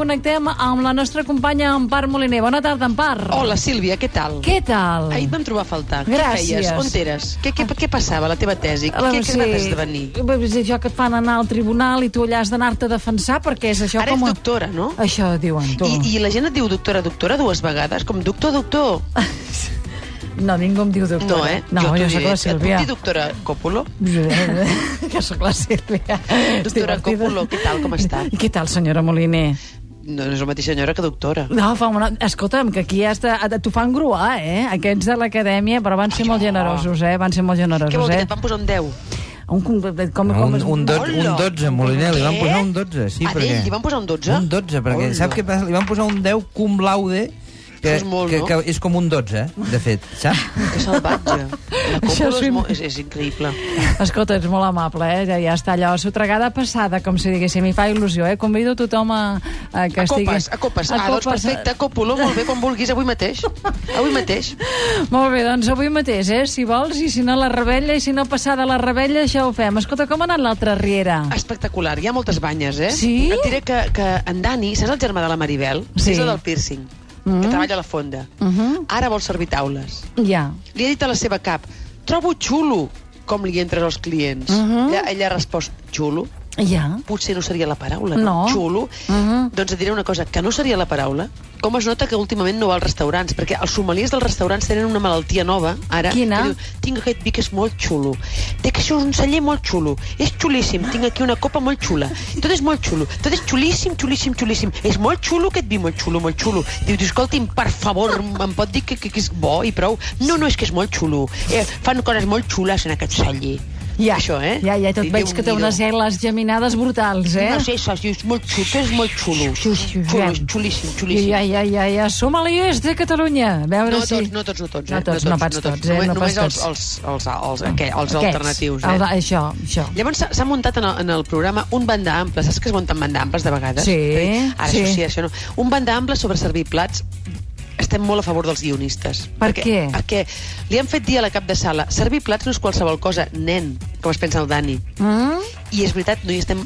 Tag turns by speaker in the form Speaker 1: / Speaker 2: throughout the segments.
Speaker 1: connectem amb la nostra companya Empar Moliner. Bona tarda, Empar.
Speaker 2: Hola, Sílvia, què tal?
Speaker 1: Què tal?
Speaker 2: Ahir et vam trobar a faltar.
Speaker 1: Gràcies.
Speaker 2: Què feies? On eres? Què, què, què passava, la teva tesi?
Speaker 1: La-
Speaker 2: què, què vas esdevenir?
Speaker 1: Eh, Bé, És això que et fan anar al tribunal i tu allà has d'anar-te a defensar perquè és això
Speaker 2: Ara
Speaker 1: com...
Speaker 2: ets
Speaker 1: a-
Speaker 2: doctora, no?
Speaker 1: Això diuen tu.
Speaker 2: I, I la gent et diu doctora, doctora dues vegades, com doctor, doctor.
Speaker 1: No, ningú em diu doctora.
Speaker 2: No, eh?
Speaker 1: No, jo,
Speaker 2: t'ho
Speaker 1: sóc
Speaker 2: diré.
Speaker 1: la Sílvia.
Speaker 2: Et puc dir doctora Còpolo?
Speaker 1: que sóc la Sílvia. És divertida.
Speaker 2: Coppola, què tal, com està?
Speaker 1: I què tal, senyora Moliner?
Speaker 2: No és la mateixa senyora que doctora.
Speaker 1: No, fa una... Escolta'm, que aquí has de... t'ho fan gruar, eh? Aquests de l'acadèmia, però van ser molt generosos, eh? Van ser molt
Speaker 2: Què vol
Speaker 1: generosos,
Speaker 2: dir?
Speaker 1: eh?
Speaker 2: Et van posar un 10.
Speaker 1: Un, com, com,
Speaker 3: No,
Speaker 1: com
Speaker 3: un, un, dot, un
Speaker 2: Hola.
Speaker 3: 12, Moliner, li van
Speaker 2: Què?
Speaker 3: posar un 12. Sí,
Speaker 2: Eh? A
Speaker 3: perquè...
Speaker 2: ell li van posar un 12?
Speaker 3: Un 12, perquè
Speaker 2: Hola.
Speaker 3: sap què passa? Li van posar un 10 cum laude, que,
Speaker 2: Això és molt,
Speaker 3: que,
Speaker 2: no?
Speaker 3: que és com un 12, de fet, sap?
Speaker 2: Que salvatge. La
Speaker 1: Això
Speaker 2: Còpolo
Speaker 1: sí.
Speaker 2: és, mo- és, és increïble.
Speaker 1: Escolta, ets molt amable, eh? Ja, ja està allò, sotregada passada, com si diguéssim, i fa il·lusió, eh? Convido tothom a, a que
Speaker 2: A
Speaker 1: estigui...
Speaker 2: copes, a copes. Ah, doncs perfecte, Còpolo, molt bé, quan vulguis, avui mateix. Avui mateix.
Speaker 1: Molt bé, doncs avui mateix, eh? Si vols, i si no la rebella, i si no passada la rebella, ja ho fem. Escolta, com ha anat l'altra riera?
Speaker 2: Espectacular, hi ha moltes banyes, eh?
Speaker 1: Sí?
Speaker 2: Et diré que, que en Dani, saps el germà de la Maribel?
Speaker 1: Sí. Mm.
Speaker 2: És el del piercing, que treballa a la fonda.
Speaker 1: Mhm.
Speaker 2: Ara vol servir taules.
Speaker 1: Ja.
Speaker 2: Li ha dit a la seva cap, trobo xulo com li entren els clients.
Speaker 1: Mhm.
Speaker 2: ella, ella ha respost, xulo?
Speaker 1: Ja.
Speaker 2: Potser no seria la paraula,
Speaker 1: No.
Speaker 2: no? Xulo?
Speaker 1: Mhm.
Speaker 2: Doncs et diré una cosa, que no seria la paraula. Com es nota que últimament no va als restaurants? Perquè els somaliers dels restaurants tenen una malaltia nova, ara.
Speaker 1: Quina?
Speaker 2: que Diu, tinc aquest vi que és molt xulo. Té que això és un celler molt xulo. És xulíssim. Tinc aquí una copa molt xula. Tot és molt xulo. Tot és xulíssim, xulíssim, xulíssim. És molt xulo aquest vi, molt xulo, molt xulo. Diu, diu escolti'm, per favor, em pot dir que, que, que és bo i prou? No, no, és que és molt xulo. Eh, fan coses molt xules en aquest celler.
Speaker 1: Ja,
Speaker 2: Això, eh?
Speaker 1: Ja, ja, tot
Speaker 2: Déu
Speaker 1: veig que té
Speaker 2: n'hi do.
Speaker 1: unes eles geminades brutals, eh?
Speaker 2: No sé, això és molt xulo, és molt xulo.
Speaker 1: Xulo, xulo.
Speaker 2: Xulo, xulíssim, xulíssim.
Speaker 1: Ja, ja, ja, ja, som a l'IES de Catalunya. A veure
Speaker 2: No
Speaker 1: si...
Speaker 2: tots, no tots, no tots.
Speaker 1: No
Speaker 2: eh?
Speaker 1: tots, no pas tots, eh?
Speaker 2: Només,
Speaker 1: No pas
Speaker 2: només els,
Speaker 1: tots.
Speaker 2: els, els, els, aqu- els
Speaker 1: Aquests,
Speaker 2: alternatius,
Speaker 1: el de-
Speaker 2: eh?
Speaker 1: Això, això.
Speaker 2: Llavors s'ha- s'ha muntat en el, en el programa un banda ample. Saps que es munten banda amples de vegades?
Speaker 1: Sí,
Speaker 2: És a dir, Ara
Speaker 1: sí.
Speaker 2: això sí, això no. Un banda ample sobre servir plats estem molt a favor dels guionistes.
Speaker 1: Per què?
Speaker 2: Perquè li han fet dir a la cap de sala servir plats no és qualsevol cosa, nen, com es pensa el Dani.
Speaker 1: Mm?
Speaker 2: I és veritat, no, hi estem,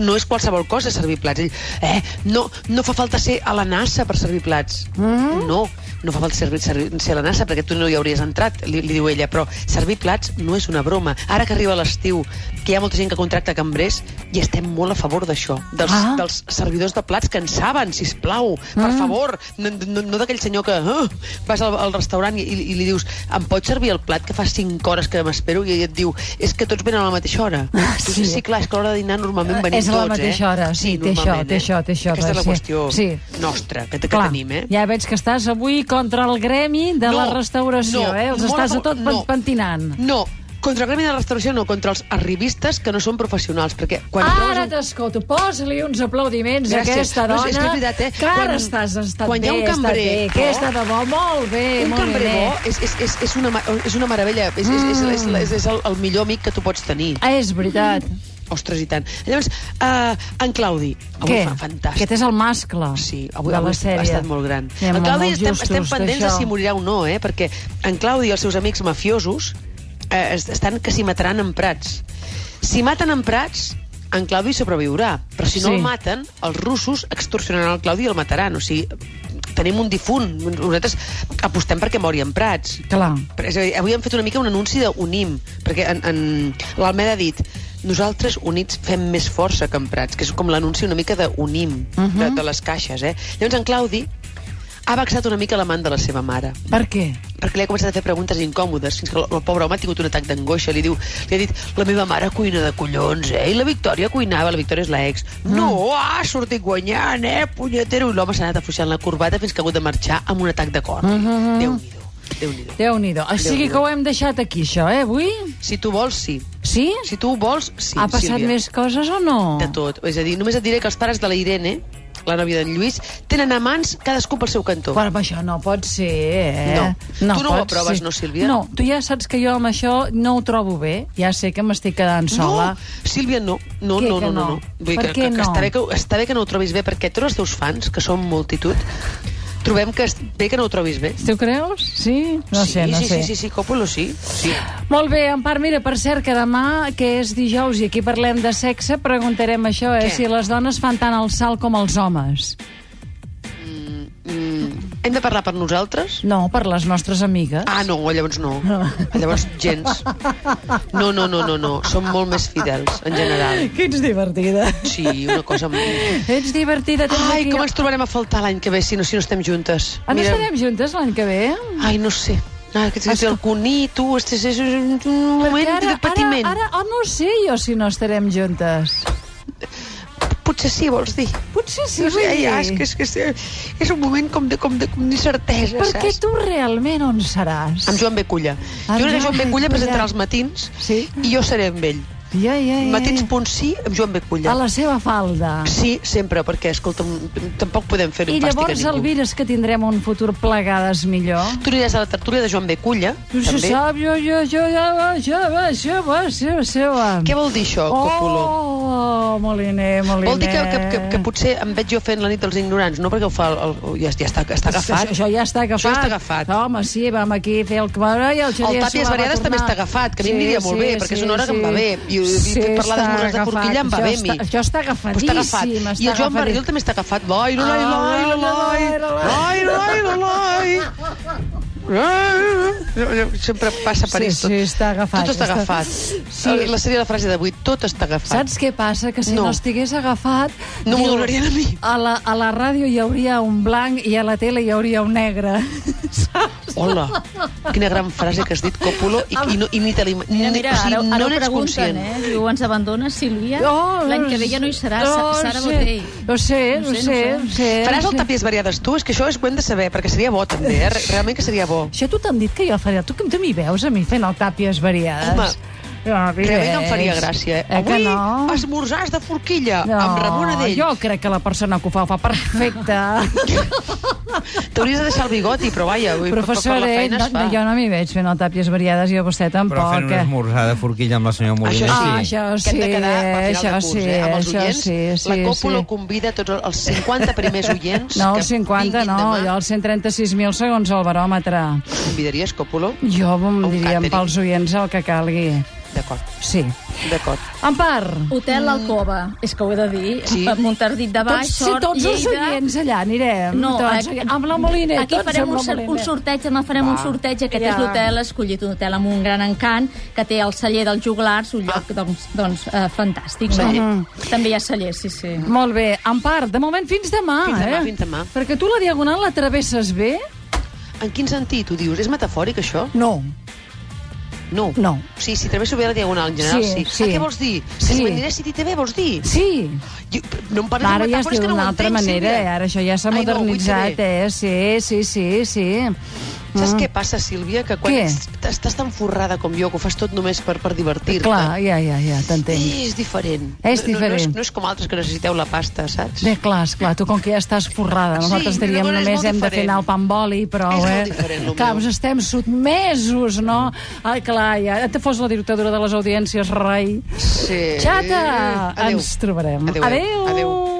Speaker 2: no és qualsevol cosa servir plats. Ell, eh, no, no fa falta ser a la NASA per servir plats.
Speaker 1: Mm.
Speaker 2: No, no fa falta servir, servir, ser a la NASA perquè tu no hi hauries entrat, li, li diu ella. Però servir plats no és una broma. Ara que arriba l'estiu, que hi ha molta gent que contracta cambrers, i estem molt a favor d'això, dels,
Speaker 1: Ah.
Speaker 2: ah. dels servidors de plats que en saben, si plau, per favor. No, no, no d'aquell senyor que uh, vas al, al restaurant i, i, i li dius em pots servir el plat que fa 5 hores que m'espero? I ell et diu, és que tots venen a la mateixa hora.
Speaker 1: Ah, sí.
Speaker 2: Tu dius, sí, clar, és que a l'hora de dinar normalment venim
Speaker 1: És a
Speaker 2: tots,
Speaker 1: la
Speaker 2: eh?
Speaker 1: mateixa hora, sí, té això,
Speaker 2: normalment, eh?
Speaker 1: té això, té això,
Speaker 2: Aquesta és
Speaker 1: doncs,
Speaker 2: la
Speaker 1: sí.
Speaker 2: qüestió
Speaker 1: Sí.
Speaker 2: nostra, que, que
Speaker 1: Clar,
Speaker 2: tenim, eh?
Speaker 1: ja veig que estàs avui contra el gremi de la restauració,
Speaker 2: no,
Speaker 1: eh? Els
Speaker 2: molt
Speaker 1: estàs a
Speaker 2: favor-
Speaker 1: tot pen- pentinant.
Speaker 2: No, contra el gremi de la restauració no, contra els arribistes que no són professionals, perquè quan trobes
Speaker 1: Ah, Ara
Speaker 2: un...
Speaker 1: t'escolto, posa-li uns aplaudiments a
Speaker 2: Gràcies.
Speaker 1: aquesta
Speaker 2: No,
Speaker 1: dona.
Speaker 2: és- és que és veritat, eh?
Speaker 1: Que ara
Speaker 2: Quan-
Speaker 1: estàs, has estat
Speaker 2: quan hi
Speaker 1: bé,
Speaker 2: ha un
Speaker 1: has estat
Speaker 2: cambrer
Speaker 1: bé.
Speaker 2: bo-
Speaker 1: Aquesta de bo, molt bé,
Speaker 2: Un
Speaker 1: molt
Speaker 2: cambrer
Speaker 1: bé.
Speaker 2: bo és, és, és, és, una, ma- és una meravella, és, és, és, és,
Speaker 1: Mm.
Speaker 2: és, és el, el millor amic que tu pots tenir.
Speaker 1: Ah, és veritat.
Speaker 2: Ostres, i tant. Llavors, uh, en Claudi, avui
Speaker 1: Què?
Speaker 2: fa fantàstic.
Speaker 1: Aquest és el mascle
Speaker 2: Sí, avui,
Speaker 1: de
Speaker 2: avui
Speaker 1: la
Speaker 2: ha
Speaker 1: sèrie.
Speaker 2: estat molt gran.
Speaker 1: Anem
Speaker 2: en Claudi
Speaker 1: molt
Speaker 2: estem,
Speaker 1: justos
Speaker 2: estem pendents de
Speaker 1: d'això.
Speaker 2: si morirà o no, eh? perquè en Claudi i els seus amics mafiosos eh, es- estan que s'hi mataran en Prats. Si maten en Prats, en Claudi sobreviurà, però si no
Speaker 1: Sí.
Speaker 2: el maten, els russos extorsionaran el Claudi i el mataran. O sigui, tenim un difunt. Nosaltres apostem perquè mori en Prats.
Speaker 1: Clar.
Speaker 2: Però, És a dir, avui hem fet una mica un anunci d'Unim, perquè en, en... l'Almeda ha dit nosaltres units fem més força que emprats, que és com l'anunci una mica d'Unim, uh
Speaker 1: Mhm.
Speaker 2: -huh. de, de les caixes, eh? Llavors en Claudi ha vexat una mica l'amant de la seva mare
Speaker 1: Per què?
Speaker 2: perquè li ha començat a fer preguntes incòmodes fins que el, el pobre home ha tingut un atac d'angoixa li, diu, li ha dit, la meva mare cuina de collons eh? i la Victòria cuinava, la Victòria és la ex no, ha sortit guanyant eh, punyetero, i l'home s'ha anat afluixant la corbata fins que ha hagut de marxar amb un atac de cor
Speaker 1: Mhm.
Speaker 2: Déu-n'hi-do, Déu-n'hi-do
Speaker 1: Déu-n'hi-do. O sigui que ho hem deixat aquí, això, eh, avui?
Speaker 2: Si tu vols, sí.
Speaker 1: Sí?
Speaker 2: Si tu vols, sí,
Speaker 1: ha passat
Speaker 2: Sílvia.
Speaker 1: més coses o no?
Speaker 2: De tot. És a dir, només et diré que els pares de la Irene, la nòvia d'en Lluís, tenen amants cadascú pel seu cantó.
Speaker 1: Però amb això no pot ser, eh?
Speaker 2: No. Tu no ho
Speaker 1: pot
Speaker 2: aproves,
Speaker 1: ser.
Speaker 2: no, Sílvia?
Speaker 1: No, tu ja saps que jo amb això no ho trobo bé. Ja sé que m'estic quedant sola.
Speaker 2: No, Sílvia, no. No,
Speaker 1: Què,
Speaker 2: no,
Speaker 1: que
Speaker 2: no, no,
Speaker 1: no?
Speaker 2: no. Vull dir
Speaker 1: Per
Speaker 2: que,
Speaker 1: què
Speaker 2: que, que
Speaker 1: no?
Speaker 2: està, bé que, està bé que no ho trobis bé, perquè tots els teus fans, que són multitud, Trobem que est- bé que no ho trobis bé.
Speaker 1: Tu creus? Sí? No
Speaker 2: sí,
Speaker 1: sé, no
Speaker 2: sí,
Speaker 1: sé.
Speaker 2: sí, sí, sí, Còpolo, sí. sí.
Speaker 1: Molt bé, Empar, mira, per cert, que demà, que és dijous i aquí parlem de sexe, preguntarem això, eh?
Speaker 2: Què?
Speaker 1: Si les dones fan tant el salt com els homes.
Speaker 2: Mm, hem de parlar per nosaltres?
Speaker 1: No, per les nostres amigues.
Speaker 2: Ah, no, llavors no. Llavors gens. No, no, no, no, no. Som molt més fidels, en general.
Speaker 1: Que ets divertida.
Speaker 2: Sí, una cosa... amb-
Speaker 1: Ets divertida. tens
Speaker 2: Ai,
Speaker 1: aquí-
Speaker 2: com ens trobarem a faltar l'any que ve si no, si no estem juntes?
Speaker 1: Ah, no estarem juntes l'any que ve?
Speaker 2: Ai, no sé. Ai, que és el cuní, tu, este és un un moment de patiment.
Speaker 1: Ara, ara, oh, no ho sé jo si no estarem juntes.
Speaker 2: Potser sí, vols dir.
Speaker 1: Potser sí,
Speaker 2: No sé,
Speaker 1: vull dir.
Speaker 2: ja, és, que, és, que és, és un moment com de, com de, com d'incertesa,
Speaker 1: Perquè
Speaker 2: saps?
Speaker 1: tu realment on seràs?
Speaker 2: Amb Joan Beculla.
Speaker 1: Amb
Speaker 2: jo
Speaker 1: Joan
Speaker 2: crec que Joan
Speaker 1: Beculla.
Speaker 2: Beculla presentarà els matins
Speaker 1: Sí.
Speaker 2: i jo seré amb ell.
Speaker 1: Ja, ja, ja.
Speaker 2: Matins punt sí amb Joan Beculla.
Speaker 1: A la seva falda.
Speaker 2: Sí, sempre, perquè, escolta, tampoc podem fer-ho
Speaker 1: I llavors,
Speaker 2: a ningú.
Speaker 1: Elvira, és que tindrem un futur plegades millor.
Speaker 2: Tu aniràs a la tertúlia de Joan Beculla,
Speaker 1: Tu se
Speaker 2: també.
Speaker 1: sap, jo, jo, jo, jo, jo, jo, jo, jo, jo, seva.
Speaker 2: Què vol dir això, Copuló?
Speaker 1: Oh, Moliner, Moliner.
Speaker 2: Vol dir que, que, que, que potser em veig jo fent la nit dels ignorants, no perquè ho fa el, el, ja, ja està, està agafat.
Speaker 1: Això, això ja està agafat.
Speaker 2: Això ja està agafat.
Speaker 1: Home, sí, vam aquí fer el quadre i el Xavier
Speaker 2: El
Speaker 1: Solà
Speaker 2: Tàpies
Speaker 1: va
Speaker 2: Variades també
Speaker 1: tornar.
Speaker 2: està agafat, que a mi em aniria molt bé, perquè és una hora que em va bé. I- i fer
Speaker 1: està
Speaker 2: parlar d'esmorars de
Speaker 1: agafat.
Speaker 2: forquilla em va
Speaker 1: Això
Speaker 2: bé a
Speaker 1: està-
Speaker 2: mi.
Speaker 1: Això està
Speaker 2: Però
Speaker 1: agafadíssim.
Speaker 2: està agafat. I el Joan Barriol
Speaker 1: agafadíssim.
Speaker 2: també està agafat. Loi, loi, loi, loi, loi, loi, loi, loi, loi. Sempre passa per
Speaker 1: Sí,
Speaker 2: ells tot.
Speaker 1: sí, està agafat,
Speaker 2: Tot està
Speaker 1: està-
Speaker 2: agafat.
Speaker 1: Sí.
Speaker 2: La seria la frase d'avui, tot està agafat.
Speaker 1: Saps què passa? Que si
Speaker 2: No.
Speaker 1: no, estigués agafat...
Speaker 2: No m'ho
Speaker 1: diu,
Speaker 2: donarien a mi.
Speaker 1: A la, a la ràdio hi hauria un blanc i a la tele hi hauria un negre. Saps?
Speaker 2: Hola, quina gran frase que has dit, Còpolo, i, i, no, i ni te l'im-
Speaker 4: Mira,
Speaker 2: ni-
Speaker 4: Eh, mira,
Speaker 2: o sigui,
Speaker 4: ara,
Speaker 2: no
Speaker 4: ara ho
Speaker 2: n'ets
Speaker 4: pregunten,
Speaker 2: conscient.
Speaker 4: eh? Diu, ens abandones, Sílvia?
Speaker 1: Oh,
Speaker 4: L'any que ve ja no hi serà,
Speaker 1: no
Speaker 4: Sa- Sara
Speaker 1: sé.
Speaker 4: Botell.
Speaker 1: Ho sé,
Speaker 4: No
Speaker 1: ho
Speaker 4: sé, no
Speaker 1: sé,
Speaker 4: sé.
Speaker 1: ho sé.
Speaker 2: Faràs
Speaker 1: ho
Speaker 2: el
Speaker 1: sé.
Speaker 2: tapies variades tu? És que això és que ho hem de saber, perquè seria bo, també, eh? Re- Realment que seria bo.
Speaker 1: Això tu t'han dit que jo faria. Tu, que tu m'hi veus a mi fent el tàpies variades?
Speaker 2: Home,
Speaker 1: no,
Speaker 2: Realment que em faria gràcia, eh?
Speaker 1: Ah, Eh que
Speaker 2: Avui
Speaker 1: no?
Speaker 2: esmorzars de forquilla
Speaker 1: No,
Speaker 2: amb Ramon Adell.
Speaker 1: jo crec que la persona que ho fa ho fa perfecte.
Speaker 2: T'hauries de deixar el bigoti, però vaja, vull,
Speaker 1: Professor,
Speaker 2: per, per la
Speaker 1: eh,
Speaker 2: feina
Speaker 1: no,
Speaker 2: es fa.
Speaker 1: jo no m'hi veig fent el tàpies variades i a vostè tampoc.
Speaker 3: Però fent una
Speaker 1: eh?
Speaker 3: esmorzada de forquilla amb la senyora Molina.
Speaker 2: Això sí,
Speaker 1: Ah, això
Speaker 2: que hem de
Speaker 1: sí,
Speaker 2: quedar per
Speaker 1: eh,
Speaker 2: final
Speaker 1: això
Speaker 2: de curs,
Speaker 1: sí,
Speaker 2: eh? Amb els
Speaker 1: això
Speaker 2: oients,
Speaker 1: sí,
Speaker 2: la
Speaker 1: sí,
Speaker 2: Còpolo
Speaker 1: sí.
Speaker 2: convida tots els 50 primers oients
Speaker 1: No,
Speaker 2: que
Speaker 1: els 50
Speaker 2: vinguin
Speaker 1: no,
Speaker 2: demà.
Speaker 1: jo els 136.000 segons el baròmetre.
Speaker 2: Convidaries, Còpolo?
Speaker 1: Jo em
Speaker 2: Un
Speaker 1: diríem
Speaker 2: càtering.
Speaker 1: pels oients el que calgui.
Speaker 2: D'acord,
Speaker 1: Sí.
Speaker 2: d'acord.
Speaker 1: En part,
Speaker 4: Hotel Alcova, és que ho he de dir.
Speaker 2: Sí.
Speaker 4: Montardit de Baix,
Speaker 1: tots, sí,
Speaker 4: Sort,
Speaker 1: tots els
Speaker 4: Lleida.
Speaker 1: oients allà anirem.
Speaker 4: No,
Speaker 1: tots,
Speaker 4: aquí-
Speaker 1: amb la Moliner.
Speaker 4: Aquí
Speaker 1: tots
Speaker 4: farem
Speaker 1: amb
Speaker 4: un,
Speaker 1: la
Speaker 4: sor- un
Speaker 1: Moliner.
Speaker 4: sorteig, demà farem un sorteig. Aquest
Speaker 1: Ja.
Speaker 4: és l'hotel, ha escollit un hotel amb un gran encant, que té el celler dels juglars, un lloc, doncs, doncs eh, fantàstic. No?
Speaker 2: Celler.
Speaker 4: També hi ha celler, sí, sí.
Speaker 1: Molt bé, en part, de moment fins demà,
Speaker 2: Fins demà,
Speaker 1: eh?
Speaker 2: fins demà.
Speaker 1: Perquè tu la Diagonal la travesses bé?
Speaker 2: En quin sentit ho dius? És metafòric, això?
Speaker 1: No.
Speaker 2: No.
Speaker 1: No.
Speaker 2: Sí, sí, també s'ho ve a la diagonal, en general,
Speaker 1: Sí,
Speaker 2: sí.
Speaker 1: sí.
Speaker 2: Ah, què vols dir? Que
Speaker 1: Sí.
Speaker 2: sí. m'aniré a City TV, vols dir?
Speaker 1: Sí.
Speaker 2: Jo, no em parles
Speaker 1: Ara
Speaker 2: de
Speaker 1: ja es diu
Speaker 2: metàfores que no ho
Speaker 1: d'una altra
Speaker 2: entenc,
Speaker 1: manera, eh?
Speaker 2: Sílvia.
Speaker 1: Ara això ja s'ha
Speaker 2: Ai, no,
Speaker 1: modernitzat,
Speaker 2: 8TV.
Speaker 1: eh? Sí, sí, sí, sí.
Speaker 2: Saps què passa, Sílvia? Que quan
Speaker 1: Mm. Què?
Speaker 2: ets- estàs tan forrada com jo, que ho fas tot només per, per divertir-te.
Speaker 1: Clar, ja, ja, ja, t'entenc.
Speaker 2: És diferent.
Speaker 1: És
Speaker 2: No- No, no, és,
Speaker 1: diferent.
Speaker 2: no és com altres que necessiteu la pasta, saps?
Speaker 1: Bé, clar, esclar, tu com que ja estàs forrada,
Speaker 2: Sí,
Speaker 1: nosaltres
Speaker 2: però
Speaker 1: diríem
Speaker 2: bueno, és
Speaker 1: només
Speaker 2: molt
Speaker 1: hem de fer
Speaker 2: diferent.
Speaker 1: anar el pa amb oli, però...
Speaker 2: És molt
Speaker 1: eh?
Speaker 2: diferent, el
Speaker 1: Clar,
Speaker 2: meu.
Speaker 1: us estem sotmesos, no? Ai, clar, ja et fos la directadora de les audiències, rei.
Speaker 2: Sí.
Speaker 1: Xata!
Speaker 2: Adéu.
Speaker 1: Ens trobarem.
Speaker 2: Adéu. Adéu.
Speaker 1: Adéu.